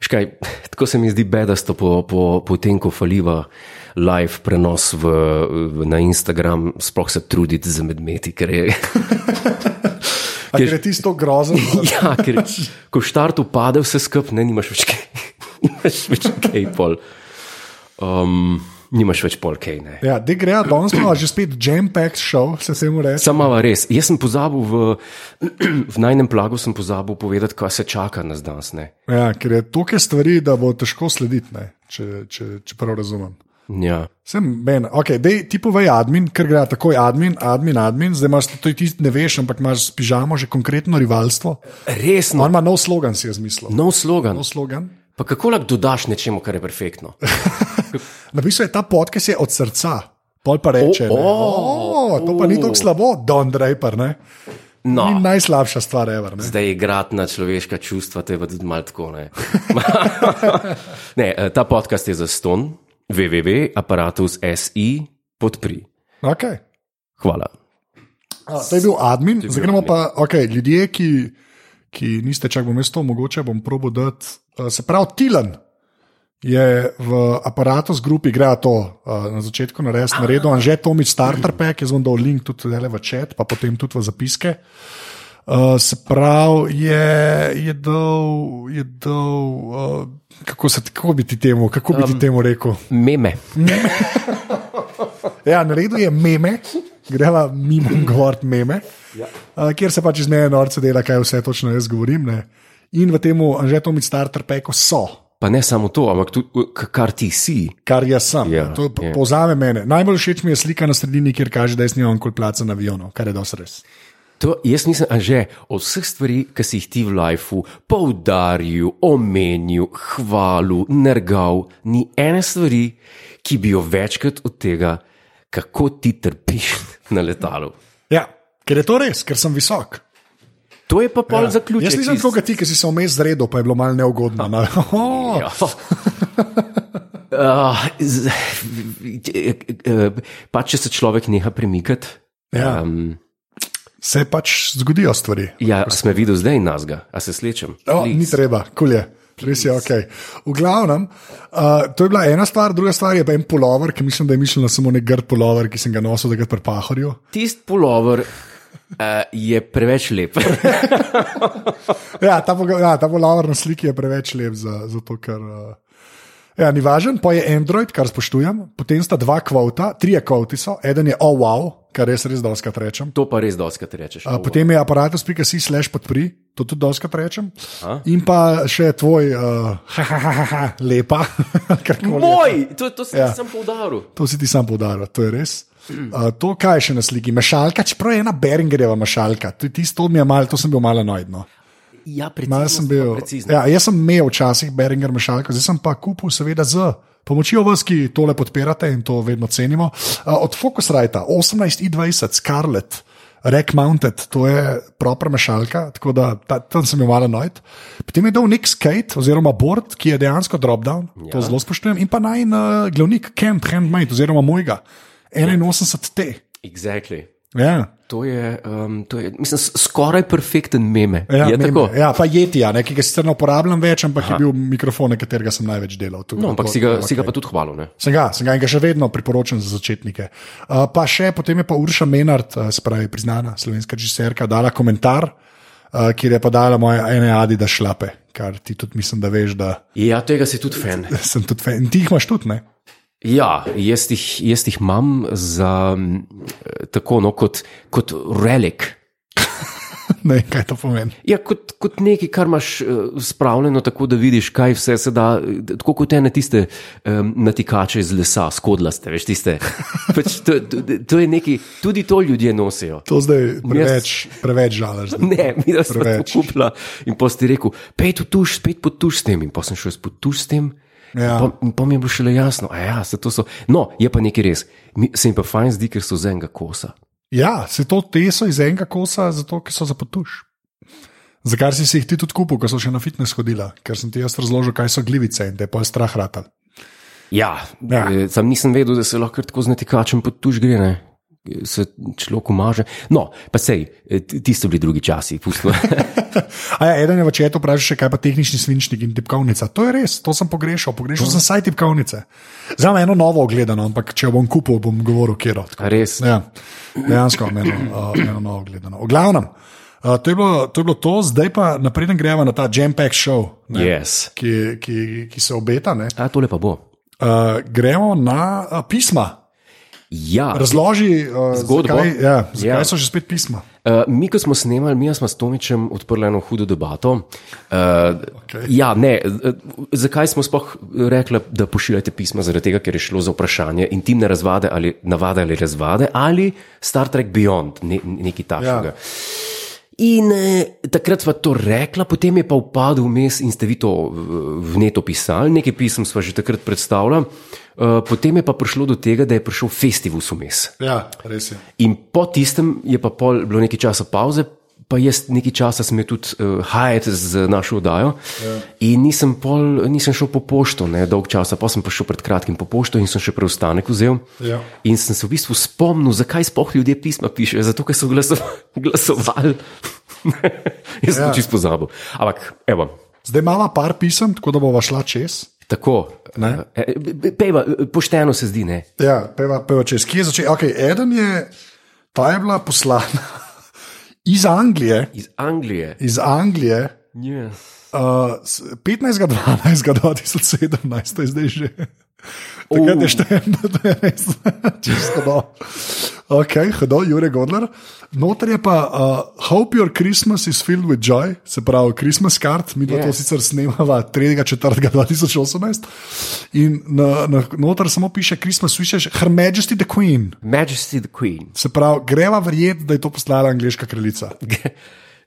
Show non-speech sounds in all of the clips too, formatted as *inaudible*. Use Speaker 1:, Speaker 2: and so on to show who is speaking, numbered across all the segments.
Speaker 1: Škaj, *laughs* tako se mi zdi bedasto po, po, po tem, ko faliva live prenos v, v, na Instagram, sploh se truditi za medmeti, ker je. *laughs*
Speaker 2: A Ker je tisto grozno.
Speaker 1: *laughs* ja, ker ko štart upade, vse skup, ne nimaš več kaj. *laughs* Nimaš več kaj pol. Um, nimaš več pol kaj. Ne.
Speaker 2: Ja, de gre, danes smo že spet jam-packed show, se se mu reče.
Speaker 1: Sama va res. Jaz sem pozabil v, *clears throat* v najnem plagu, sem pozabil povedati, kaj se čaka nas danes. Ne.
Speaker 2: Ja, ker je toliko stvari, da bo težko slediti, ne, če, če, če prav razumem.
Speaker 1: Ja.
Speaker 2: Sem ben, ok, dej, ti povej admin, ker gre takoj admin, admin, admin, zdaj imaš to, ti ne veš, ampak imaš s pižamo že konkretno rivalstvo. On
Speaker 1: Resno,
Speaker 2: ima nov slogan, si jaz mislil.
Speaker 1: no, nov slogan.
Speaker 2: Nov slogan.
Speaker 1: Pa kako lahko dodaš nečemu, kar je perfektno?
Speaker 2: Napisal je ta podcast je od srca, pol pa reče. ne,
Speaker 1: O,
Speaker 2: "O, to pa ni tako slabo, Don Draper, ne.
Speaker 1: No.
Speaker 2: Ni najslabša stvar, ever. Ne?
Speaker 1: Zdaj je igrati na človeška čustva, te pa tudi malo tako. Ne, *laughs* ne eh, ta podcast je za ston, www.apparatus.si podpri.
Speaker 2: Okay.
Speaker 1: Hvala.
Speaker 2: A, to je bil admin, zdaj gremo pa, okay, ljudje, ki, ki niste čak v mesto, mogoče bom probo dati. Uh, se pravi, Tilan je v aparatu z grupi, gre to uh, na začetku na res naredil, Anže Tomič Starter Pack, jaz bom dal link tudi tule v chat, pa potem tudi v zapiske. Uh, se pravi, je, je dal, je dal uh, kako, se, kako bi ti temu, kako bi ti temu rekel?
Speaker 1: Meme.
Speaker 2: Ja, naredil je meme, greva mimo gor meme, ja. uh, kjer se pač iz mene norce dela, kaj vse točno jaz govorim. Ne? In v tem Anžetomi starter peko so,
Speaker 1: Pa ne samo to, ampak tudi, k- kar ti si.
Speaker 2: kar jaz sem.
Speaker 1: Ja,
Speaker 2: to po-
Speaker 1: ja.
Speaker 2: povzame mene. Najbolj všeč mi je slika na sredini, kjer kaže, da jaz nimam kot placa na avionu, kar je dosti res.
Speaker 1: To, jaz nisem, a že od vseh stvari, ki si jih ti v lifeu poudaril, omenil, hvalil, nergal, ni ene stvari, ki bi jo večkrat od tega, kako ti trpiš *laughs* na letalu.
Speaker 2: Ja, ker je to res, ker sem visok.
Speaker 1: To je pa pol ja. zaključek.
Speaker 2: Jaz nisem
Speaker 1: iz-
Speaker 2: kot ti, ki si se vmes zredel, pa je bilo malo neugodno. Ne? *laughs* Oh,
Speaker 1: *laughs* Ja. Uh, z- eh, pa če se človek neha premikati,
Speaker 2: Ja.
Speaker 1: um,
Speaker 2: se pač zgodijo stvari.
Speaker 1: ja, a smo videli zdaj nazga, a se slečem.
Speaker 2: No, ni treba, kul je. Res je, ok. V glavnem, uh, to je bila ena stvar, druga stvar je pa en polover, ki mislim, da je mišljen na samo nek grd polover, ki sem ga nosil, da ga pri pahorju.
Speaker 1: Tisti pulover uh, je preveč lep. *laughs*
Speaker 2: Ja, ta, poga- ja, ta polover na sliki je preveč lep, za, zato ker. Uh, ja, ni važen, pa je Android, kar spoštujem, potem sta dva kvota, trije kvoti so, eden je oh wow, kar jaz res doskrat rečem.
Speaker 1: to pa res doskrat rečeš.
Speaker 2: Uh, potem je aparatus.si slash podpri, to tudi doskrat rečem.
Speaker 1: A?
Speaker 2: In pa še tvoj, uh, ha, ha, ha, ha, ha, *laughs* lepa, kar koli.
Speaker 1: Moj, to, to sem
Speaker 2: Ja.
Speaker 1: ja. sem poudaril.
Speaker 2: To si ti sam poudaril, to je res. Uh, to, kaj je še na sliki, mešalka, čeprav je ena Beringerjeva mešalka, to je tisto, mi je malo, to sem bil malo noidno.
Speaker 1: Ja,
Speaker 2: Malo sem bil,
Speaker 1: precizen.
Speaker 2: ja, jaz sem imel včasih Beringer mešalko, zdaj sem pa kupil, seveda, z pomočjo vas, ki tole podpirate in to vedno cenimo. Uh, od Focusrite 18i20 Scarlet. Rek Mounted, to je proper mešalka, tako da ta, tam sem jo malo nojd. Potem je dal nek skate oziroma board, ki je dejansko drop-down, ja. to zelo spoštujem, in pa naj uh, glavnik Camp Handmade oziroma mojega, 81T.
Speaker 1: Exactly.
Speaker 2: Ja,
Speaker 1: To je, um, to je mislim, s- skoraj perfekten meme.
Speaker 2: ja,
Speaker 1: je
Speaker 2: meme.
Speaker 1: tako.
Speaker 2: ja, pa Jetija, ne, ki ga sicer ne uporabljam več, ampak Aha. je bil mikrofon, na katerega sem največ delal. Tudi,
Speaker 1: No, ampak si ga, si ga pa tudi hvalil. ne?
Speaker 2: Sem ga, sem ga in ga še vedno priporočam za začetnike. Uh, pa še potem je pa Urša Menard, uh, spravi priznana slovenska režiserka, dala komentar, uh, kjer je pa dala moje ene adi da šlape, kar ti tudi mislim, da veš, da
Speaker 1: Ja, tega si tudi fan.
Speaker 2: sem tudi fan. In ti jih imaš tudi, ne? *laughs*
Speaker 1: Ja, jaz jih, jaz jih imam za m, tako no, kot, kot relik.
Speaker 2: Ne, vem, kaj to pomeni.
Speaker 1: Ja, kot, kot nekaj, kar imaš eh, spravljeno tako, da vidiš, kaj vse se da. eh, Tako kot ene tiste um, natikače iz lesa, skodlaste, veš,
Speaker 2: *laughs*
Speaker 1: tiste. Pač to, to, to je nekaj, tudi to ljudje nosijo.
Speaker 2: To zdaj preveč, preveč žalaš. zdaj.
Speaker 1: Ne, mi da smo to
Speaker 2: Preveč.
Speaker 1: kupila. In potem si rekel, pej tu tuš, spet potuš s tem. In potem sem šel jaz potuš s tem.
Speaker 2: Ja.
Speaker 1: Pa, pa mi je bilo šele jasno, a ja, se to so. No, je pa nekaj res. Mi, se jim pa fajn zdi, ker so z enega kosa.
Speaker 2: Ja, se to te so iz enega kosa, zato ker so za potuš. Zakaj si si jih ti tudi kupil, ko so še na fitness hodila, ker sem ti jaz razložil, kaj so glivice in te je pa strah ratal.
Speaker 1: Ja, ja.
Speaker 2: Ja.
Speaker 1: Eh, sam nisem vedel, da se lahko kar tako z netikačem potuš gre. Ne? se človek umaže. No, pa sej, ti so bili drugi časi, pusto.
Speaker 2: ja, eden je v četu vprašal, kaj pa tehnični svinčnik in tipkovnica. To je res, to sem pogrešal, pogrešal sem saj tipkovnice. Za me eno novo ogledano, ampak če jo bom kupil, bom govoril kjer od.
Speaker 1: Res.
Speaker 2: Ja, dejansko eno, uh, eno novo ogledano. V glavnem. Uh, to, je bilo, to je bilo to, zdaj pa napreden gremo na ta Jam-Pack show, ne,
Speaker 1: Yes.
Speaker 2: ki, ki, ki se obeta. ne.
Speaker 1: A tole pa bo.
Speaker 2: Uh, gremo na uh, pisma.
Speaker 1: Ja,
Speaker 2: Razloži uh,
Speaker 1: Zgodbo?
Speaker 2: Zakaj, ja, zakaj
Speaker 1: Ja.
Speaker 2: so že spet pisma?
Speaker 1: Uh, mi, ko smo snemali, mi smo s Tomičem odprli eno hudo debato. Uh, okay. Ja, ne, eh, zakaj smo sploh rekli, da pošiljate pisma? Zaradi tega, ker je šlo za vprašanje intimne razvade ali navade ali razvade ali Star Trek Beyond, ne, nekaj takšnega.
Speaker 2: Ja.
Speaker 1: Ja. In eh, takrat sva to rekla, potem je pa upadel vmes in ste vi to eh, v neto pisali, nekaj pisem sva že takrat predstavljala. Eh, Potem je pa prišlo do tega, da je prišel festival vmes.
Speaker 2: Ja, res je.
Speaker 1: In po tistem je pa pol bilo nekaj časa pauze, pa jaz nekaj časa sem jo tudi uh, hajal z našo oddajo.
Speaker 2: Ja.
Speaker 1: Yeah. In nisem, pol, nisem šel po pošto, ne, dolg časa, pa sem pa šel pred kratkim po pošto in sem še preostanek vzel.
Speaker 2: Ja.
Speaker 1: In sem se v bistvu spomnil, zakaj sploh ljudje pisma pišejo, zato ker so glaso *laughs* glasovali. *laughs* jaz sem yeah.
Speaker 2: Ja.
Speaker 1: čisto pozabil. Ampak evo.
Speaker 2: Zdaj imamo par pisem, tako da bova šla čez.
Speaker 1: Tako,
Speaker 2: Ne?
Speaker 1: Eh, eh, pejva, eh, pošteno se zdi, ne.
Speaker 2: Ja, peva, peva čez. Kje je začel? Okay, eden je, ta je bila poslana *laughs* iz Anglije,
Speaker 1: Iz Anglije.
Speaker 2: iz Anglije
Speaker 1: Yes.
Speaker 2: uh, 15.12.2017, to je zdaj že. Takrat je štejem, da je res *laughs* čisto do. Ok, hodo, Jurek Godler. Noter je pa uh, Hope Your Christmas is filled with joy, se pravi Christmas card, mi yeah.
Speaker 1: Yeah.
Speaker 2: to sicer snemava 3.4.2018 in na, na, noter samo piše Christmas wishes, Her Majesty the Queen.
Speaker 1: Majesty the Queen.
Speaker 2: Se pravi, greva verjeti, da je to poslala angliška kraljica.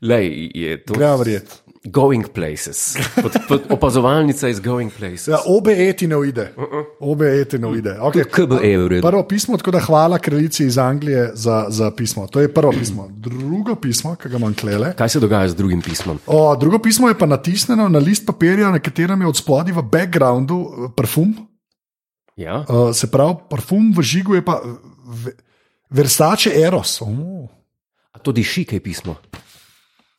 Speaker 1: Lej, je to
Speaker 2: Greva verjeti.
Speaker 1: Going places. Pod, pod opazovalnica iz Going places.
Speaker 2: Ja, obe eti ne uide. Obe eti ne uide. Okay.
Speaker 1: KB je E v redu.
Speaker 2: Prvo pismo, tako da hvala kraljici iz Anglije za, za pismo. To je prvo pismo. Drugo pismo, ki ga imam klele.
Speaker 1: Kaj se dogaja z drugim pismom?
Speaker 2: O, drugo pismo je pa natisnjeno na list papirja, na katerem je od spodaj v backgroundu eh, parfum.
Speaker 1: Ja?
Speaker 2: Uh, se pravi, parfum v žigu je pa v- Versace Eros. Oh.
Speaker 1: A to diši, kaj pismo.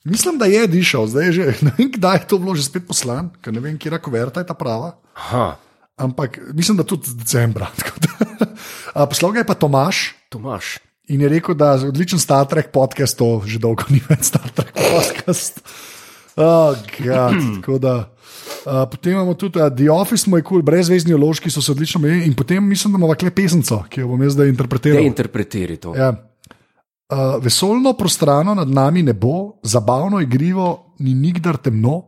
Speaker 2: Mislim, da je dišal, zdaj je že *laughs* ne vem, kdaj je to bilo že spet poslan, ker ne vem, kje rakoverta je ta prava.
Speaker 1: Aha,
Speaker 2: Ampak mislim, da tudi decembra. *laughs* tako da. A, Poslal ga je pa Tomaš,
Speaker 1: Tomaš.
Speaker 2: In je rekel, da je odličen Star Trek podcast, to že dolgo ni več Star Trek podcast. Oh, God, tako da. Uh, potem imamo tudi uh, The Office, moj kul, cool, brezvezni ložki so se odlično menili in potem mislim, da imamo kle pesnico, ki jo bom jaz zdaj
Speaker 1: Te
Speaker 2: interpretiral.
Speaker 1: interpretiri to.
Speaker 2: Ja. Uh, vesolno prostrano nad nami ne bo, zabavno igrivo ni nikdar temno,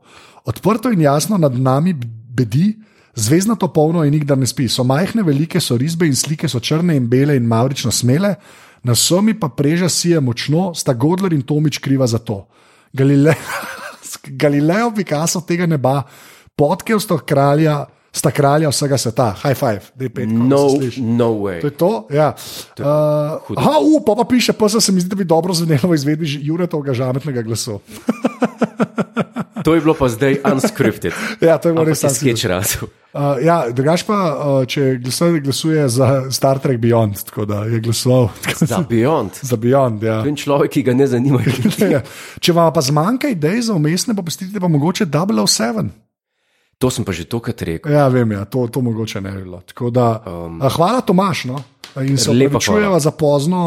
Speaker 2: odprto in jasno nad nami bedi, zvezdnato polno in nikdar ne spi. So majhne, velike so risbe in slike so črne in bele in mavrično smele, na somi pa preža sije močno, sta Godler in Tomič kriva za to. Galile *laughs* Galileo Picasso tega neba, potkev sta kralja, sta kralja vsega sveta. High five, da je pet.
Speaker 1: No, no way.
Speaker 2: To je to. Ja. Uh, aha, u, pa, pa piše, pa se mi zdi, da bi dobro zvenelo v izvedbi Ž- Juretovega žametnega glasu.
Speaker 1: To je bilo pa zdaj unscripted.
Speaker 2: *laughs* Ja, to je bilo res
Speaker 1: Ampak je
Speaker 2: sanski
Speaker 1: sketch razum.
Speaker 2: Uh, ja, drugač pa, uh, če glasuje, glasuje za Star Trek Beyond, tako da je glasoval *laughs* tako
Speaker 1: Za Beyond.
Speaker 2: za Beyond. Ja.
Speaker 1: To je en človek, ki ga ne zanima. *laughs*
Speaker 2: Ja. Če vam pa zmanjka idej za umestne, pa pustite pa mogoče 007.
Speaker 1: To sem pa že tokrat rekel.
Speaker 2: Ja, vem, ja, to, to mogoče ne bi bilo. Tako Da, um, hvala, Tomaš. No? In se
Speaker 1: lepa
Speaker 2: opravičujeva
Speaker 1: hvala.
Speaker 2: za pozno,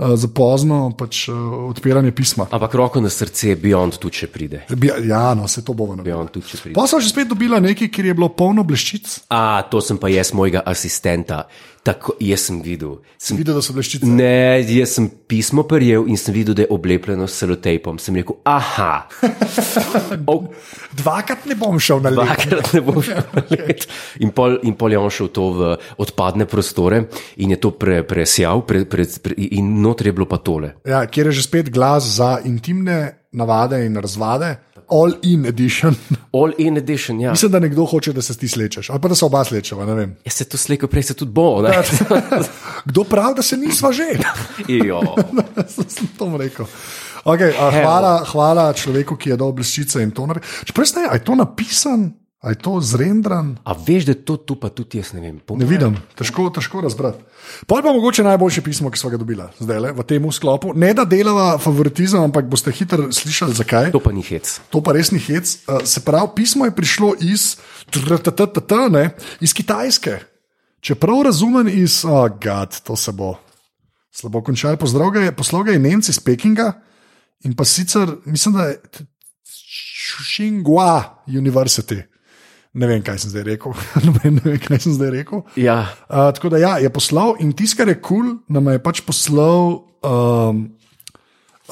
Speaker 2: uh, za pozno pač, uh, odpiranje pisma.
Speaker 1: Ampak roko na srce, Beyond tu če pride.
Speaker 2: Bi- Ja, no, se to bomo naredili.
Speaker 1: Beyond tu če pride.
Speaker 2: Pa sem že spet dobila nekaj, kjer je bilo polno bleščic.
Speaker 1: A, to sem pa jaz, mojega asistenta. Tako, jaz sem videl. Sem
Speaker 2: Videla so bleščice.
Speaker 1: Ne, jaz sem pismo prejel in sem videl, da je oblepljeno s celotejpom. Sem rekel, aha, ok,
Speaker 2: Dvakrat ne bom šel na led.
Speaker 1: dvakrat ne bo šel na let. In pol, in pol je on šel to v odpadne prostore in je to pre, presjal, pre, pre, pre, in notri je bilo pa tole.
Speaker 2: Ja, kjer je že spet glas za intimne navade in razvade, all in edition. *laughs*
Speaker 1: All in edition, ja.
Speaker 2: Mislim, da nekdo hoče, da se ti slečeš, ali pa da se oba slečeva. ne vem.
Speaker 1: Jaz se to slejko prej se tudi bo. ne?
Speaker 2: Kdo pravi, da se nisva že?
Speaker 1: *laughs*
Speaker 2: *laughs*
Speaker 1: Jo.
Speaker 2: Sem to mu rekel. Okay, a, hvala, hvala človeku, ki je dal bleščice in to naredil. Čeprav jaz ne, vem, a je to napisan, a A je to zrendran?
Speaker 1: A veš, da to tu pa tudi jaz ne vem. Po
Speaker 2: Ne vidim, težko, težko razbrati. Pa je pa mogoče najboljše pismo, ki smo ga dobili zdaj le v tem sklopu. Ne da delava favoritizem, ampak boste hitro slišali, zakaj.
Speaker 1: To pa ni hec.
Speaker 2: To pa res ni hec. Eh, Se pravi, pismo je prišlo iz, TRTTT, ne, iz Kitajske. Čeprav razumem iz, oh, gad, to se bo slabo končalo. Pozdrav ga je, poslal ga je Nemci iz Pekinga in pa sicer, mislim, da je Tsinghua University. Ne vem, kaj sem zdaj rekel. *laughs* Noben ne vem, kaj sem zdaj rekel.
Speaker 1: Ja,
Speaker 2: Uh, tako da ja, je poslal in tisto, kar je kul, cool, nam je pač poslal. Um,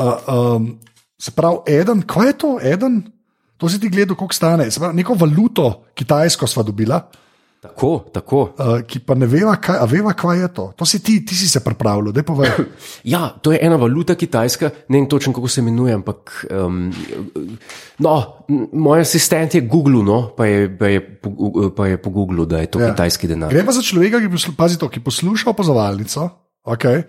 Speaker 2: uh, um, se pravi, eden, kaj je to, eden? To si ti gledal, koliko stane. Se pravi, neko valuto kitajsko sva dobila,
Speaker 1: tako, tako.
Speaker 2: uh, ki pa ne veva, kaj, a veva, kaj je to. To si ti, ti si se pripravljal, da povej.
Speaker 1: Ja, to je ena valuta kitajska, ne vem točno kako se imenuje, ampak um, no, m- moj asistent je Google, no, pa je, pa je, po- u- pa je po Google, da je to ja. kitajski denar.
Speaker 2: Gre pa za človeka, ki, poslu, pazi to, ki posluša opazovalnico. Okay.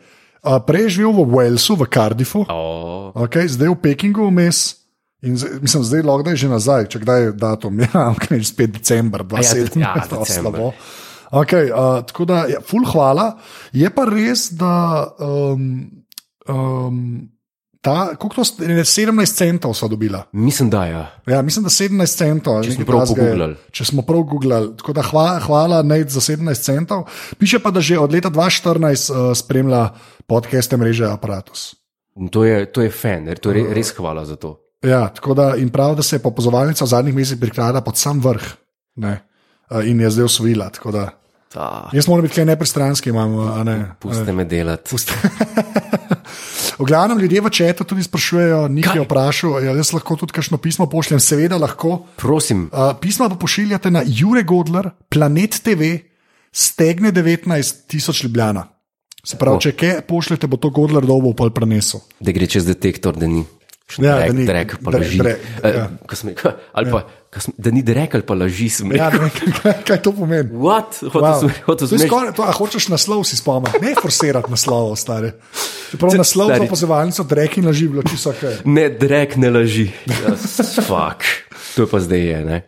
Speaker 2: Uh, prej je živel v Walesu, v Cardiffu.
Speaker 1: O,
Speaker 2: Okay, zdaj v Pekingu vmes. In zdaj, mislim, zdaj lahko da je že nazaj, če kdaj je datum. *laughs* Ja, ampak je že spet december,
Speaker 1: ja,
Speaker 2: 27.
Speaker 1: ja,
Speaker 2: to
Speaker 1: december.
Speaker 2: slabo. Okay, uh, tako da, ja, full hvala. Je pa res, da um, um, ta, koliko to stane, 17 centov so dobila.
Speaker 1: mislim, da je. Ja.
Speaker 2: Ja, mislim, da 17 centov. ali
Speaker 1: smo
Speaker 2: nekaj
Speaker 1: prav
Speaker 2: takega je.
Speaker 1: pogooglali.
Speaker 2: Če smo prav googlali. Tako da hvala, hvala Nate za 17 centov. Piše pa, da že od leta 2014 uh, spremlja podcaste mreže Apparatus.
Speaker 1: In To je, to je fan, er, to je re- res hvala za to.
Speaker 2: Ja, tako da in prav, da se je popozovalnica v zadnjih mesecih prikradla pod sam vrh ne, eh, in je zdaj osvojila. tako da.
Speaker 1: Ta,
Speaker 2: Jaz moram biti kaj nepristranski, imam. a Ne.
Speaker 1: puste me delati.
Speaker 2: Pusti. *laughs* V glavnem ljudje v četu tudi sprašujejo, nekaj je vprašal, ali jaz lahko tudi kakšno pismo pošljem, seveda lahko.
Speaker 1: Prosim,
Speaker 2: Uh, pisma pa pošiljate na Jure Godler, Planet TV, stegne 19 tisoč Ljubljana. Se pravi, če kaj pošljete, bo to Godler dobo pa prenesel.
Speaker 1: da gre čez detektor, da ni.
Speaker 2: Ja,
Speaker 1: Ja,
Speaker 2: da
Speaker 1: drek,
Speaker 2: ni-
Speaker 1: ni drek, pa
Speaker 2: dre-
Speaker 1: laži.
Speaker 2: dre-
Speaker 1: Eh,
Speaker 2: ja.
Speaker 1: ko sem rekel, ali pa, ko sem- Da ni drek ali pa laži. sem rekel.
Speaker 2: Ja, ne vem, *laughs* kaj, kaj to pomeni.
Speaker 1: What? Hotel
Speaker 2: Wow.
Speaker 1: sem- hotel
Speaker 2: To
Speaker 1: sem
Speaker 2: je
Speaker 1: reči-
Speaker 2: skoraj, to, a hočeš naslov si spomniti, ne forsirati naslovov, stari. Čeprav naslov za
Speaker 1: stari.
Speaker 2: opazovalnico dreki na življo, če so kaj.
Speaker 1: Ne, drek ne laži. Ja, Fak, to pa zdaj je. Ne?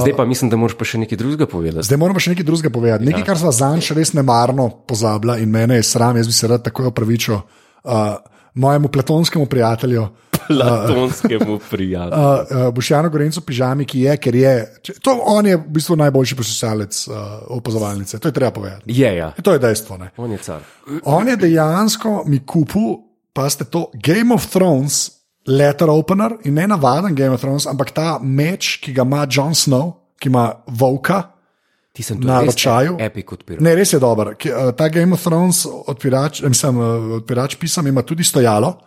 Speaker 1: Zdaj pa mislim, da moraš pa še nekaj drugega povedati.
Speaker 2: *laughs* Zdaj moramo še nekaj drugega povedati.
Speaker 1: Ja.
Speaker 2: Nekaj, kar sva zanj še res nemarno pozabila in mene je sram, jaz bi se rad takoj opravičil uh, mojemu platonskemu prijatelju.
Speaker 1: Platonskemu prijatelju.
Speaker 2: Uh, uh, Bošjano Gorenco pižami, ki je, ker je. če- To, on je v bistvu najboljši poslušalec uh, opazovalnice, to je treba povedati. E,
Speaker 1: Je, ja,
Speaker 2: To je dejstvo. Ne?
Speaker 1: on je car.
Speaker 2: On je dejansko mi kupil, pa ste to Game of Thrones, letter opener in ne navaden Game of Thrones, ampak ta meč, ki ga ima Jon Snow, ki ima Volka.
Speaker 1: Ti sem tu
Speaker 2: Na
Speaker 1: res
Speaker 2: ročaju?
Speaker 1: Epik odpiral.
Speaker 2: Ne, res je dober. Ki, eh, Ta Game of Thrones odpirač, eh, mislim, eh, odpirač pisem ima tudi stojalo.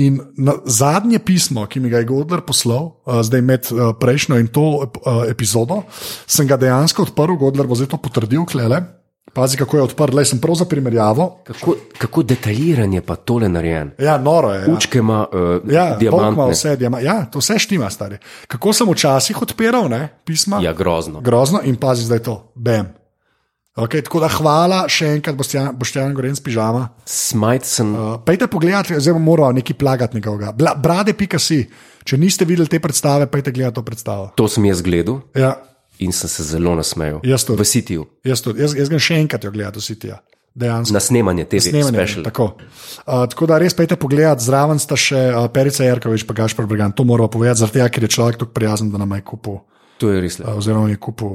Speaker 2: In na, zadnje pismo, ki mi ga je Godler poslal, uh, zdaj med uh, prejšnjo in to ep- eh, epizodo, sem ga dejansko odprl, Godler bo zdaj to potrdil, klele. Pazi, kako je odprl, le sem prav za primerjavo.
Speaker 1: Kako, kako detaljiran je pa tole narejen.
Speaker 2: Ja, noro je. Ja.
Speaker 1: Učke ima uh,
Speaker 2: Ja,
Speaker 1: ja,
Speaker 2: diamantne.
Speaker 1: diamantne.
Speaker 2: Vse, diama ja, to vse štima, stari. Kako sem včasih odpiral ne, pisma,
Speaker 1: Ja, grozno.
Speaker 2: grozno in pazi zdaj to, bam. Okay, tako da hvala še enkrat, Boštjan, Boštjan Gorenc, pižama.
Speaker 1: Smajt sem.
Speaker 2: Uh, pejte pogledat, zdaj bom moral nekaj plagati nekoga. Bla, brade, pika si. Če niste videli te predstave, pejte gledati to predstavo.
Speaker 1: To sem jaz gledal
Speaker 2: Ja,
Speaker 1: in sem se zelo nasmejal.
Speaker 2: Jaz tudi.
Speaker 1: V sitiju.
Speaker 2: jaz, tudi, jaz, jaz grem še enkrat jo gledati, vsi ti. ja. Dejansko.
Speaker 1: Na snemanje TV.
Speaker 2: Snemanje,
Speaker 1: special.
Speaker 2: tako. Uh, tako da res pejte pogledat, zraven sta še uh, Perica Jarkovič, pa Gašpor Brgan. To moramo povedati, zaradi tega, ker je človek tako prijazen, da nam je kupil.
Speaker 1: To je res lepo.
Speaker 2: A, oziroma je kupil.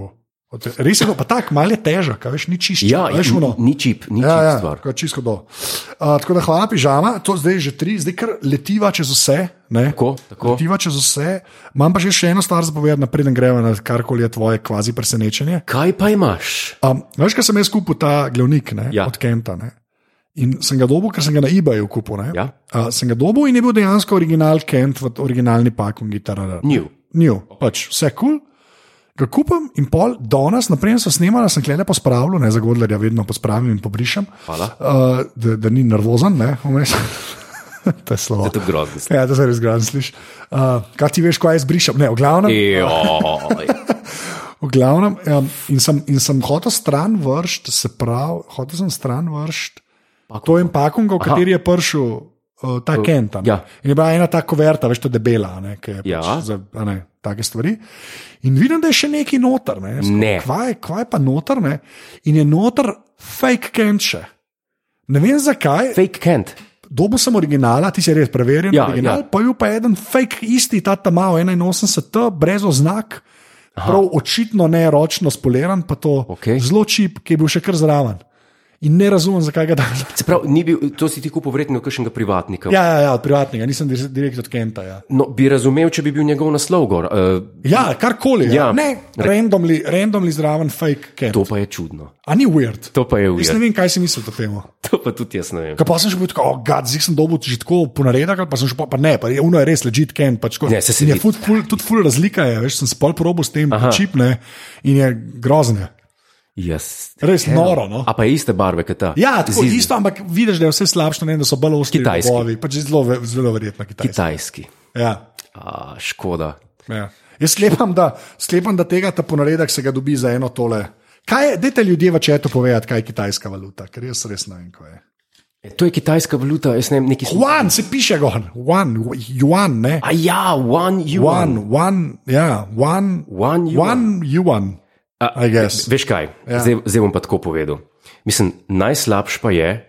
Speaker 2: od- Res je bilo pa tako, malo je težak, a veš, ni čisto.
Speaker 1: Ja,
Speaker 2: veš,
Speaker 1: ni,
Speaker 2: ono.
Speaker 1: ni čip, ni
Speaker 2: Ja,
Speaker 1: čip
Speaker 2: ja,
Speaker 1: stvar.
Speaker 2: tako je čisto do. Uh, tako da hvala, pižama, to zdaj je že tri, zdaj kar letiva čez vse. ne.
Speaker 1: Tako, tako.
Speaker 2: Letiva čez vse. Imam pa že še eno stvar zapovedati, napreden greva na karkoli je tvoje kvazi presenečenje.
Speaker 1: Kaj pa imaš?
Speaker 2: Um, veš, kaj sem jaz kupil ta glavnik ne, ja.
Speaker 1: Ja.
Speaker 2: od Kenta. Ne? In sem ga dobil, ker sem ga na eBayu kupil. ne.
Speaker 1: Ja.
Speaker 2: Uh, sem ga dobil in je bil dejansko original Kent v originalni pakungi.
Speaker 1: New.
Speaker 2: Njo, pač vse kul. Cool. Ga kupim in pol, danes, naprej so snemali, sem klede pospravljal, ne za Godlerja, vedno pospravim in pobrišem,
Speaker 1: Hvala.
Speaker 2: uh, da, da ni nervozen, ne, vmes. *laughs* to je slovo.
Speaker 1: To je grozno.
Speaker 2: Ja, to se res grad sliši. Uh, kaj ti veš, kaj jaz brišem? Ne, v
Speaker 1: E,
Speaker 2: glavnem.
Speaker 1: Joj.
Speaker 2: V glavnem um, in, sem, in sem hotel stran vršiti, se pravi, hotel sem stran vršiti. To je en pakung, v kateri je prišel uh, uh, ta Kent.
Speaker 1: ja.
Speaker 2: In je bila ena ta koverta, veš, ta debela, ne, ki je
Speaker 1: Ja.
Speaker 2: pač za a ne, take stvari. In vidim, da je še nekaj noter, ne, Jaz tako,
Speaker 1: Ne.
Speaker 2: Kvaj, kvaj pa noter, ne. in je noter fake Kent še. Ne vem zakaj,
Speaker 1: Fake Kent.
Speaker 2: dobo sem originala, ti si res preverjen,
Speaker 1: Ja,
Speaker 2: ja, original,
Speaker 1: ja.
Speaker 2: ja. pa je bil pa eden fake, isti ta tam 81T, brez oznak, prav očitno ne ročno spoliran, pa to
Speaker 1: Okej.
Speaker 2: zelo čip, ki je bil še kar zraven. In ne razumem, zakaj ga daš.
Speaker 1: Se pravi, ni bil, to si ti kupil verjetno od kakšnega privatnika.
Speaker 2: Ja, ja, ja, od privatnega, nisem dir- direkt od Kenta. Ja,
Speaker 1: No, bi razumel, če bi bil njegov naslov gor. Uh,
Speaker 2: ja karkoli.
Speaker 1: Ja.
Speaker 2: Ja. Ja. Ne, randomly, randomly zraven fake Kent.
Speaker 1: to pa je čudno.
Speaker 2: A ni weird.
Speaker 1: To pa je
Speaker 2: Jaz
Speaker 1: ujel.
Speaker 2: ne vem, kaj si mislil o tem.
Speaker 1: To pa tudi jaz ne vem.
Speaker 2: Kaj pa sem že bil tako, oh, gad, zdaj sem dobil že tako ponaredek, ali pa sem že pa, pa ne, pa je uno je res ležit ken. Pač, tako.
Speaker 1: Ne, Ja, saj se
Speaker 2: In je
Speaker 1: vidi.
Speaker 2: ful, ful, tudi ful razlika je, veš, sem spol probo s tem čipne in je grozne.
Speaker 1: Jaz.
Speaker 2: Res noro, no.
Speaker 1: A pa je iste barve, kot ta.
Speaker 2: Ja, tako
Speaker 1: Zid-
Speaker 2: isto, ampak vidiš, da je vse slabše, ne, da so bolj ostri
Speaker 1: Kitajski.
Speaker 2: robovi, pač zelo, ve- zelo verjetno kitajski.
Speaker 1: Kitajski.
Speaker 2: Ja,
Speaker 1: A, škoda.
Speaker 2: ja. Jaz sklepam da, sklepam, da tega ta ponaredek se ga dobi za eno tole. Kaj je, dajte ljudje v četu povedati, kaj je kitajska valuta, ker jaz res ne vem, kaj je.
Speaker 1: E, To je kitajska valuta, jaz ne vem, neki smo.
Speaker 2: Juan se piše gon, Juan, Juan, ne.
Speaker 1: A ja, one yuan.
Speaker 2: One, one, ja, one,
Speaker 1: One yuan.
Speaker 2: one, yuan. I guess.
Speaker 1: Veš kaj, ja. zdaj, zdaj bom pa tako povedal. Mislim, najslabš pa je,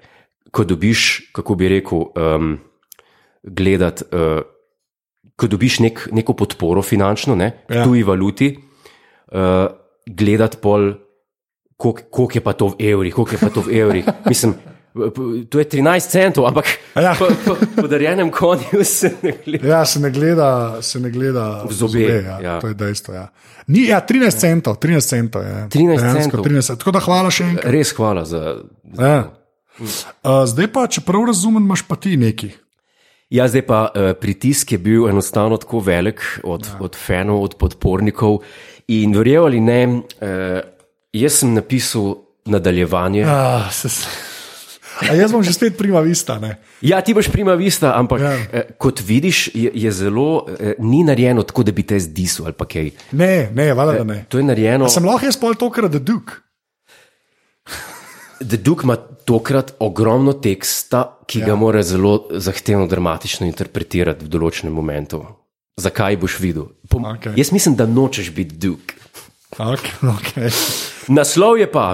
Speaker 1: ko dobiš, kako bi rekel, um, gledati, uh, ko dobiš nek, neko podporo finančno, ne, ja.
Speaker 2: Ja.
Speaker 1: tuji valuti, uh, gledati pol, koliko je pa to v evrih, koliko je pa to v evrih. Mislim, p- p- to je 13 centov, ampak ja.
Speaker 2: Ja.
Speaker 1: po, po, po darjenem konju se ne gleda.
Speaker 2: Ja, se ne gleda, se ne gleda v
Speaker 1: zobe,
Speaker 2: ja,
Speaker 1: ja.
Speaker 2: ja. To je dejstvo. Ja. Ni, ja, 13 centov, 13 centov je.
Speaker 1: 13
Speaker 2: Dejansko
Speaker 1: centov.
Speaker 2: 13. Tako da hvala še enkrat.
Speaker 1: Res hvala za
Speaker 2: Ja.
Speaker 1: Mm.
Speaker 2: Uh, zdaj pa, če prav razumem, imaš pa ti neki.
Speaker 1: Ja, zdaj pa uh, pritisk je bil enostavno tako velik od, ja. od fanov, od podpornikov. In verjel ali ne, uh, jaz sem napisal nadaljevanje. Ja,
Speaker 2: Uh, se, se. A jaz bom že spet prima vista. Ne?
Speaker 1: ja ti boš prima vista, ampak ja.
Speaker 2: Ja.
Speaker 1: uh, kot vidiš, je, je zelo, uh, ni narejeno tako, da bi te zdisal ali pa kaj.
Speaker 2: Ne, ne, valjda da ne.
Speaker 1: To je narejeno.
Speaker 2: Sem lahko jaz pol tokrat, da duk.
Speaker 1: The Duke ima tokrat ogromno teksta, ki ja. ga mora zelo zahtevno, dramatično interpretirati v določenem momentu. Zakaj boš videl? Po, okay.
Speaker 2: Okej.
Speaker 1: Jaz mislim, da nočeš biti Duke.
Speaker 2: Okay, okay.
Speaker 1: Naslov je pa.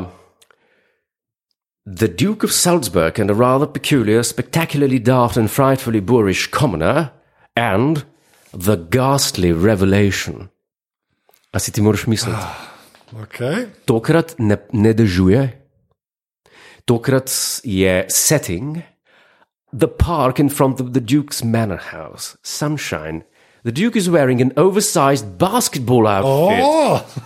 Speaker 1: The Duke of Salzburg and a rather peculiar, spectacularly daft and frightfully boorish commoner, and the ghastly revelation. A si ti moraš misliti?
Speaker 2: Okay.
Speaker 1: Tokrat ne, ne dežuje, tokrat je setting, the park in front of the Duke's manor house, sunshine. The Duke is wearing an oversized basketball outfit.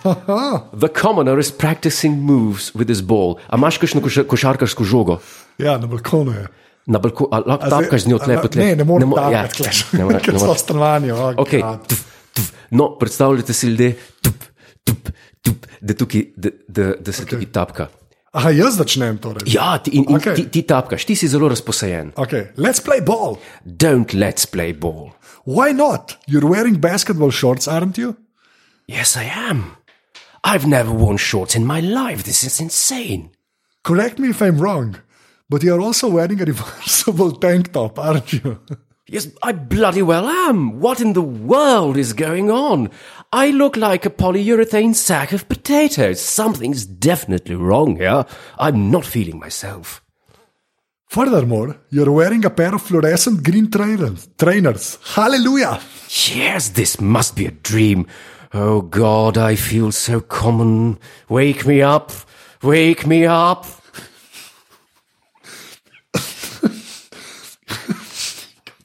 Speaker 2: Oh,
Speaker 1: The commoner is practicing moves with his ball. A imaš kakšno koša- košarkarsko žogo?
Speaker 2: *laughs* ja, na balkonu je.
Speaker 1: Na balkonu, ali lahko
Speaker 2: zdaj-
Speaker 1: tapkaš z njo
Speaker 2: a
Speaker 1: tle po tle?
Speaker 2: Ne, ne morem
Speaker 1: mo- ja,
Speaker 2: tapkati,
Speaker 1: ne more-
Speaker 2: ja, *laughs* ker
Speaker 1: ne
Speaker 2: so
Speaker 1: more.
Speaker 2: v stanovanju. Oh,
Speaker 1: Okej,
Speaker 2: God.
Speaker 1: tf, tf. No, predstavljajte si ljudi, tup, tup, tup, da, tukaj, da, da, da se okay. tukaj tapka.
Speaker 2: Aha, jaz začnem torej.
Speaker 1: Ja, ti, in, in okay.
Speaker 2: Okej.
Speaker 1: ti, ti tapkaš, ti si zelo razposajen.
Speaker 2: Okay, let's play ball.
Speaker 1: Don't let's play ball.
Speaker 2: Why not? You're wearing basketball shorts, aren't you?
Speaker 1: Yes, I am. I've never worn shorts in my life. This is insane.
Speaker 2: Correct me if I'm wrong, but you're also wearing a reversible *laughs* tank top, aren't you? *laughs*
Speaker 1: Yes, I bloody well am. What in the world is going on? I look like a polyurethane sack of potatoes. Something's definitely wrong here. I'm not feeling myself.
Speaker 2: Furthermore, you're wearing a pair of fluorescent green trainers. trainers. Hallelujah!
Speaker 1: Yes, this must be a dream. Oh God, I feel so common. Wake me up. Wake me up.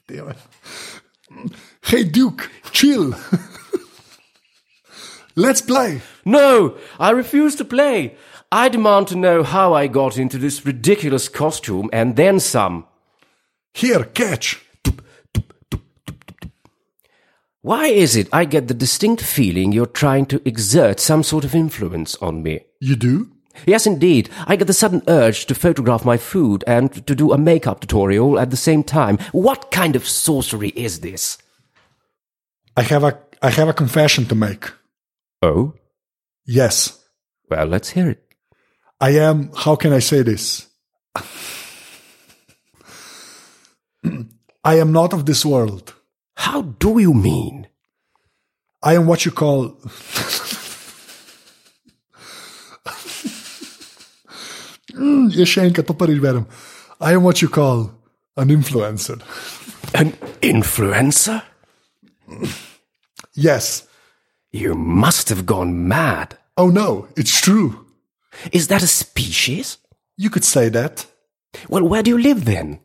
Speaker 2: Damn it. Hey Duke, chill. *laughs* let's play.
Speaker 1: No, I refuse to play. I demand to know how I got into this ridiculous costume and then some.
Speaker 2: Here, catch.
Speaker 1: Why is it I get the distinct feeling you're trying to exert some sort of influence on me?
Speaker 2: You do?
Speaker 1: Yes, indeed. I get the sudden urge to photograph my food and to do a makeup tutorial at the same time. What kind of sorcery is this?
Speaker 2: I have a I have a confession to make.
Speaker 1: Oh,
Speaker 2: Yes,
Speaker 1: well, let's hear it.
Speaker 2: I am. How can I say this? *clears throat* I am not of this world.
Speaker 1: How do you mean?
Speaker 2: I am what you call. *laughs* Mm, Jaz še enkrat to prvič berem. I am what you call an influencer.
Speaker 1: An influencer?
Speaker 2: Yes.
Speaker 1: You must have gone mad.
Speaker 2: Oh no, it's true.
Speaker 1: Is that a species?
Speaker 2: You could say that. *laughs*
Speaker 1: Well, where do you live then?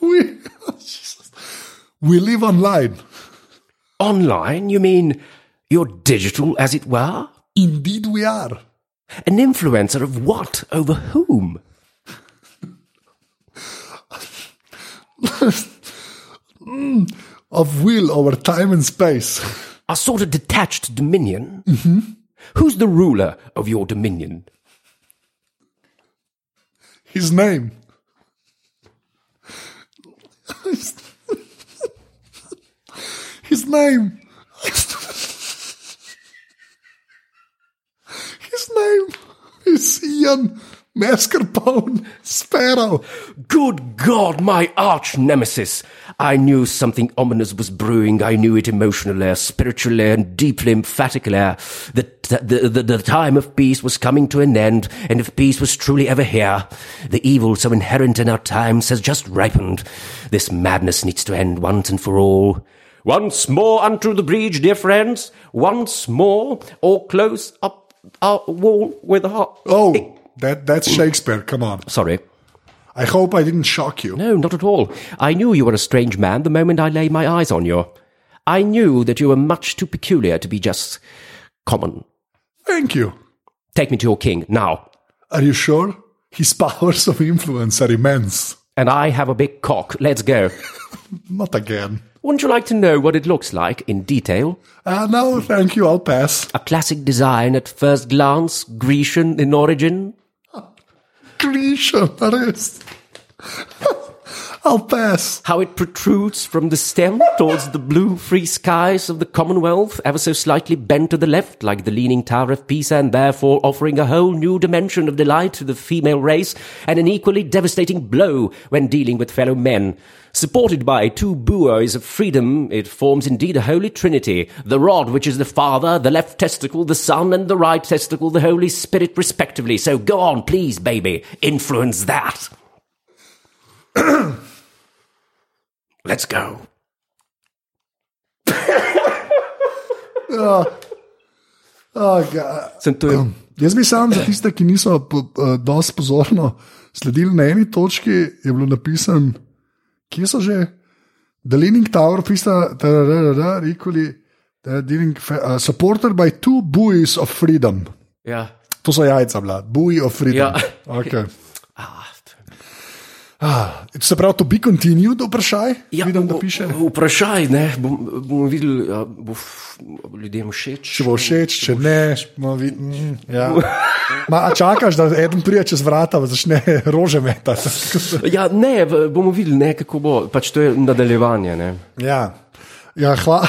Speaker 2: We, *laughs* Jesus. we live online.
Speaker 1: Online? You mean you're digital, as it were?
Speaker 2: Indeed, we are.
Speaker 1: An influencer of what? Over whom?
Speaker 2: Of will over time and space. *laughs*
Speaker 1: A sort of detached dominion? Who's the ruler of your dominion?
Speaker 2: His name. *laughs* His name. *laughs* His name is Ian Mascarpone Sparrow.
Speaker 1: Good God, my arch nemesis! I knew something ominous was brewing. I knew it emotional air, spiritual air, and deeply emphatical air. The, t- the, the, the time of peace was coming to an end, and if peace was truly ever here, the evil so inherent in our times has just ripened. This madness needs to end once and for all. Once more unto the breach, dear friends. Once more, or close up our wall with our.
Speaker 2: Oh, that, that's Shakespeare. Come on.
Speaker 1: Sorry.
Speaker 2: I hope I didn't shock you.
Speaker 1: No, not at all. I knew you were a strange man the moment I laid my eyes on you. I knew that you were much too peculiar to be just common.
Speaker 2: Thank you.
Speaker 1: Take me to your king now.
Speaker 2: Are you sure? His powers of influence are immense.
Speaker 1: And I have a big cock. Let's go.
Speaker 2: Not again.
Speaker 1: Wouldn't you like to know what it looks like in detail?
Speaker 2: Ah, no, thank you. I'll pass.
Speaker 1: A classic design at first glance, Grecian in origin.
Speaker 2: Grecian arrest. I'll pass.
Speaker 1: How it protrudes from the stem towards the blue free skies of the Commonwealth, ever so slightly bent to the left, like the leaning Tower of Pisa, and therefore offering a whole new dimension of delight to the female race, and an equally devastating blow when dealing with fellow men. Supported by two buoys of freedom, it forms indeed a holy trinity the rod, which is the father, the left testicle, the son, and the right testicle, the Holy Spirit, respectively. So go on, please, baby, influence that. Let's go.
Speaker 2: Oh, ga-
Speaker 1: Sem to je
Speaker 2: Jaz bi sam za tiste, ki niso po- eh, dosti pozorno sledili, na eni točki je bilo napisano, kje so že. The Leaning Tower, pisa, da je rekel, eh, supported by two buoys of freedom.
Speaker 1: Ja.
Speaker 2: To so jajca, bila, buoy of freedom.
Speaker 1: Ja.
Speaker 2: Okay. Ah, Se pravi, to bi continued, vprašaj? Ja, Vidim, da
Speaker 1: v-
Speaker 2: piše.
Speaker 1: Vprašaj, ne, bom, bom videl, a bo f- ljudem všeč.
Speaker 2: Če bo všeč, če ne, bomo videli. Mm, ja. *laughs* Ma, a čakaš, da eden pride čez vrata in začne *laughs* rože metati.
Speaker 1: Ja, ne, v- bomo videli, ne, kako bo. Pač to je nadaljevanje. Ne.
Speaker 2: *laughs* Ja. Ja, hva.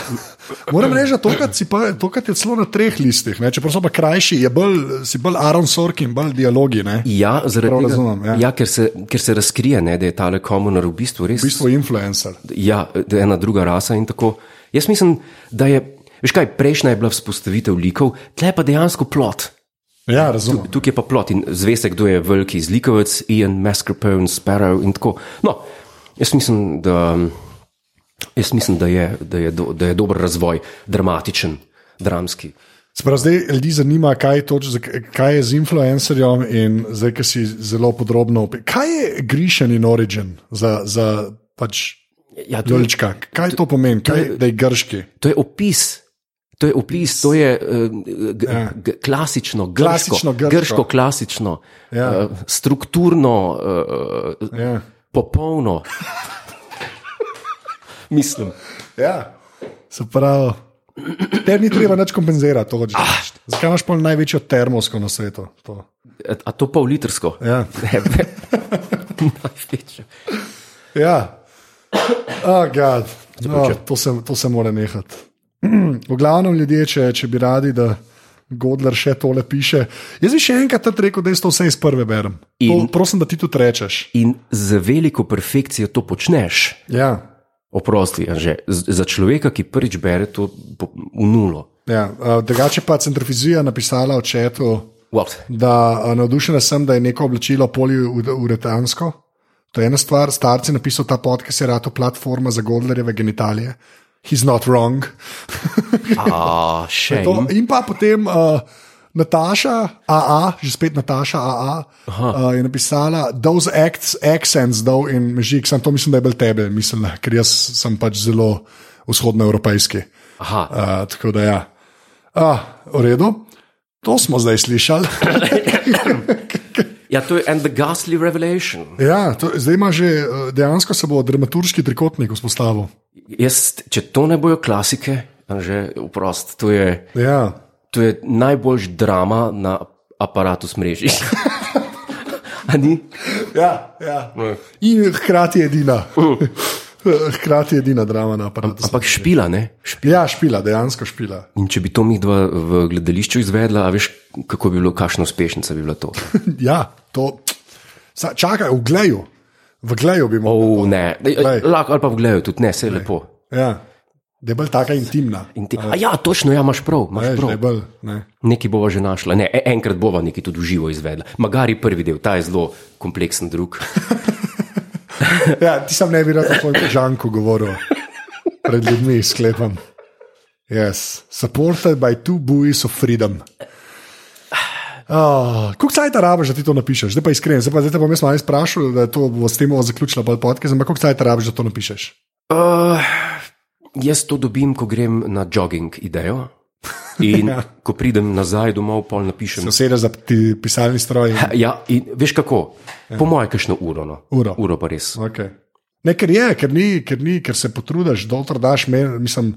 Speaker 2: Moram reči, da tokrat si pa- tokrat je celo na treh listih, ne? čeprav so pa krajši, je bolj, si bolj Aaron Sorkin, bolj dialogi. Ne?
Speaker 1: Ja, zaradi
Speaker 2: Prav
Speaker 1: tega,
Speaker 2: razumem, ja.
Speaker 1: ja ker, se, ker se razkrije, ne, da je ta komunar v bistvu res.
Speaker 2: V bistvu influencer.
Speaker 1: Ja, da je ena druga rasa in tako. Jaz mislim, da je. Veš kaj, prejšnja je bila vzpostavitev likov, tle pa dejansko plot.
Speaker 2: Ja, razumem.
Speaker 1: Tukaj je pa plot in zveste, kdo je veliki zlikovec, Ian Mascarpone, Sparrow in tako. No, jaz mislim, da, jaz mislim, da, je, da, je, do, da je dober razvoj, dramatičen, dramski.
Speaker 2: Sprav, zdaj ljudi zanima, kaj je, toč, kaj je z influencerjem in zdaj, ki si zelo podrobno opisal. Kaj je Grecian in Origin za, za pač
Speaker 1: Ja, to, je,
Speaker 2: Dolčka? Kaj to pomeni, kaj, da je grški?
Speaker 1: to je opis. To je opis, to je uh, g, g, klasično, grško,
Speaker 2: Ja. Klasično grško.
Speaker 1: grško klasično,
Speaker 2: Ja.
Speaker 1: ja. uh, strukturno, uh,
Speaker 2: Ja. *laughs*
Speaker 1: popolno. Mislim.
Speaker 2: Ja. Se pravi, tebi ni treba nič kompenzirati, to hočeš reči. Zakaj imaš pa največjo termosko na svetu? To.
Speaker 1: A, a to pol litrsko?
Speaker 2: Ja.
Speaker 1: Ne, ne. Največje.
Speaker 2: ja. *coughs* Oh, God. no, to, se, to se mora nehati. V glavnem, ljudje, če, če bi radi, da, Godler še tole piše. Jaz bi še enkrat trt rekel, da jaz to vse iz prve berem. In, to,
Speaker 1: In-
Speaker 2: prosim, da ti tudi rečeš.
Speaker 1: *laughs* In z veliko perfekcijo to počneš.
Speaker 2: Ja,
Speaker 1: Oprosti, Anže, z- za človeka, ki prvič bere to po- v nulo.
Speaker 2: ja. Uh, drugače pa centrifizija napisala v četu.
Speaker 1: What?
Speaker 2: da a, navdušena sem, da je neko oblačilo poliuretansko. To je ena stvar, starci napisal ta podcast, je rato platforma za Godlerjeve genitalije. He's not wrong.
Speaker 1: A, še
Speaker 2: To,
Speaker 1: to...
Speaker 2: in pa potem uh, Nataša, AA, že spet Nataša AA, uh, je napisala: Those acts, accents, though in mežik, sem to mislim, da je bil tebe, mislim, ker jaz sem pač zelo vzhodnoevropejski.
Speaker 1: Aha,
Speaker 2: Uh, tako da, ja. Uh, v redu, to smo zdaj slišali.
Speaker 1: ja, to je and the ghastly revelation.
Speaker 2: Ja, to, zdaj ima že eh, dejansko se bo dramaturški trikotnik vzpostavil.
Speaker 1: Jaz, če to ne bojo klasike, Anže, oprost, to je,
Speaker 2: Ja.
Speaker 1: to je najboljš drama na aparatu mreži. *laughs* A ni?
Speaker 2: Ja, ja. In hkrati je edina. *laughs* Hkrati je edina drama na aparatu.
Speaker 1: Ampak špila, ne? Šp-
Speaker 2: Ja, špila, dejansko špila.
Speaker 1: In če bi to mi dva v gledališču izvedla, a veš, kako bi bilo, kakšna uspešnica bi bila to.
Speaker 2: Ja, to. Sa, čakaj, v gleju. V gleju bi mogel.
Speaker 1: O, ne,
Speaker 2: Glej.
Speaker 1: lahko ali pa v gledu, tudi ne, vse je lepo.
Speaker 2: Ja. Da je bolj taka intimna.
Speaker 1: In ti, a ja, točno, ja, imaš prav, imaš
Speaker 2: Veš,
Speaker 1: prav.
Speaker 2: da je bolj, ne.
Speaker 1: Nekaj bova že našla, ne, e- enkrat bova nekaj tudi v živo izvedla. Magari prvi del, ta je zelo kompleksen, drug. *laughs*
Speaker 2: Ja, ti sam ne bi rad o svojem žanku govoril pred ljudmi, sklepam. Yes. Supported by two buoys of freedom. Oh, Kuk saj ta rabiš, da ti to napišeš? Zdaj pa iskren, zdaj pa, zdaj te bom jaz malo sprašil, da to bo s tem bova zaključila pod podcast, ampak kuk saj ta rabiš, da to napišeš?
Speaker 1: Uh, jaz to dobim, ko grem na jogging idejo. In *laughs* ja. ko pridem nazaj domov, pol napišem.
Speaker 2: Soseda za ti pisalni stroj. in-
Speaker 1: Ja, in veš kako? Ja. Po mojem, kakšno uro. No.
Speaker 2: Uro.
Speaker 1: uro pa res.
Speaker 2: Okay. Ne, ker je, ker ni, ker ni, ker se potrudiš, doktor daš, men, mislim,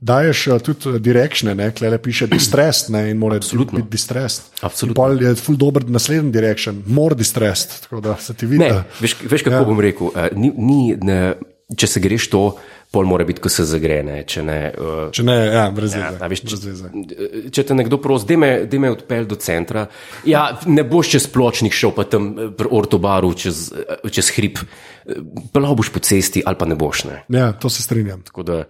Speaker 2: daješ eh, tudi direkšne, ne, klele piše distress ne, in mora biti distress.
Speaker 1: Absolutno.
Speaker 2: Pol je full dober naslednji direkšen, more distress, tako da se ti vidi.
Speaker 1: Ne,
Speaker 2: da-
Speaker 1: veš, veš, kako ja. bom rekel. eh, Ni, ni, ne, če se greš to, pol mora biti, ko se zagrene. Če, ne, uh,
Speaker 2: Če ne, ja, brez veze.
Speaker 1: a veš, če-
Speaker 2: brez veze.
Speaker 1: če te nekdo prosi, da me, daj me odpelje do centra, ja, ne boš čez pločnik šel, pa tam eh, pri ortobaru, čez, eh, čez hrib. Plav boš po cesti ali pa ne boš. Ne.
Speaker 2: Ja, to se strinjam.
Speaker 1: Tako da,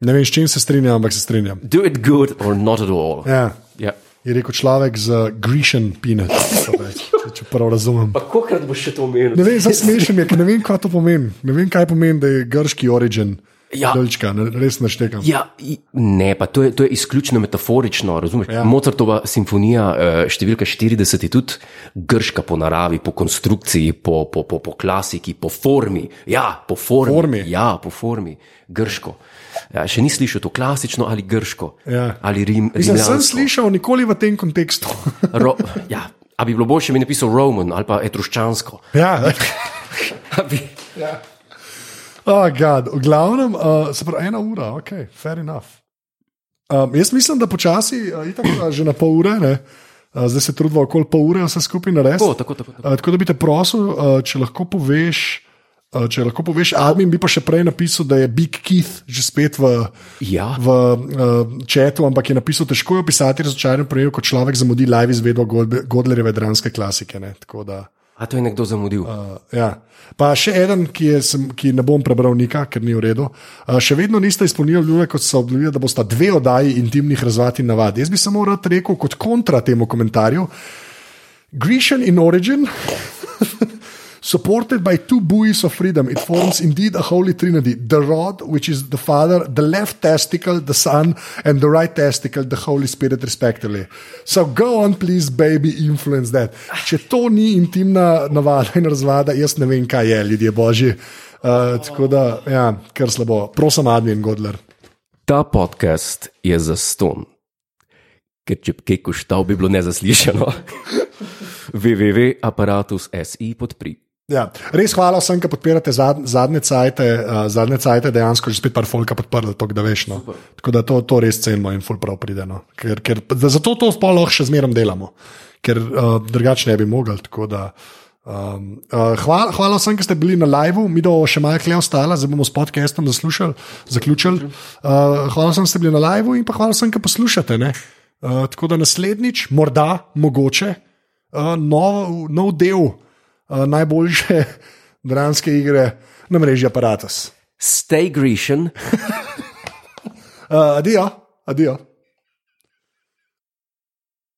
Speaker 2: Ne vem, s čim se strinjam, ampak se strinjam.
Speaker 1: do it good or not at all.
Speaker 2: Ja,
Speaker 1: Ja.
Speaker 2: je rekel človek z grešen pinet, če, če prav razumem.
Speaker 1: Pa kokrat boš še to omenil?
Speaker 2: Ne vem, zdaj smešim je, ker ne vem, kaj to pomeni. Ne vem, kaj pomeni, da je grški origin.
Speaker 1: Ja.
Speaker 2: Dolčka, ne, res naštekam.
Speaker 1: Ja, i- ne, pa to je, to je izključno metaforično, razumete?
Speaker 2: Ja.
Speaker 1: Ja. Mozartova simfonija, eh, številka 40, je tudi grška po naravi, po konstrukciji, po, po, po, po klasiki, po formi. Ja, po formi.
Speaker 2: Formi.
Speaker 1: Ja, po formi, grško. Ja, še ni slišal to klasično ali grško.
Speaker 2: Ja.
Speaker 1: Ali rim,
Speaker 2: Mislim, sem
Speaker 1: rimljansko.
Speaker 2: slišal, nikoli v tem kontekstu.
Speaker 1: Ro, ja, a bi bilo boljše, če bi napisal Roman ali pa etruščansko.
Speaker 2: ja,
Speaker 1: A Bi,
Speaker 2: oh, Ja. God. V glavnem, uh, se pravi, ena ura, ok, fair enough. Um, jaz mislim, da počasi, uh, itak, uh, že na pol ure, ne, uh, zdaj se trudimo okoli pol ure, vse skupaj narediti.
Speaker 1: tako, tako, tako, tako.
Speaker 2: Uh, tako da bi te prosil, uh, če lahko poveš. uh, Če lahko poveš, admin bi pa še prej napisal, da je Big Keith že spet v,
Speaker 1: Ja.
Speaker 2: v uh, četu, ampak je napisal, težko je opisati razočaranje prejel, ko človek zamudi live izvedbo Godbe- Godlerjeve dranske klasike. Ne? Tako da.
Speaker 1: A to je nekdo zamudil. Uh,
Speaker 2: Uh, ja. Pa še eden, ki, je, sem, ki ne bom prebral nika, ker ni v redu. Uh, še vedno niste izpolnili ljube, kot so obljubili, da bosta dve oddaji intimnih razvad in navad. Jaz bi samo rad rekel kot kontra temu komentarju. Grecian in origin. Supported by two buoys of freedom, it forms indeed a holy trinity the rod, which is the Father, the left testicle, the Son, and the right testicle, the Holy Spirit, respectively. So go on, please, baby, influence that. Če to ni intimna navada in razvada, jaz ne vem, kaj je, ljudje božji. Uh, tako da, ja, kar slabo. Prosim, Admin Godler.
Speaker 1: Ta podcast je za ston, ker če bi kaj koštal, bi bilo nezaslišano. *laughs* www.apparatus.si podpri.
Speaker 2: Ja. Res hvala vsem, ki podpirate zad, zadnje cajte, uh, zadnje cajte dejansko že spet par folka podprli, tako da veš. No. Tako da to, to res cenimo in ful prav pride. No. Ker, ker, da zato to sploh lahko še zmeraj delamo, ker uh, drugače ne bi mogli. tako Da, um, uh, hvala, hvala vsem, ki ste bili na liveu, mi bomo še malo klej ostala, zdaj bomo s Eh, podcastom zaslušali, zaključili. Uh, hvala vsem, ki ste bili na liveu in pa hvala vsem, ki poslušate. Ne. Uh, tako da naslednjič, morda, mogoče, uh, nov, nov del uh, najboljše *laughs* dramske igre na mreži Apparatus.
Speaker 1: Stay Grecian.
Speaker 2: Uh, Eh, adijo, adijo.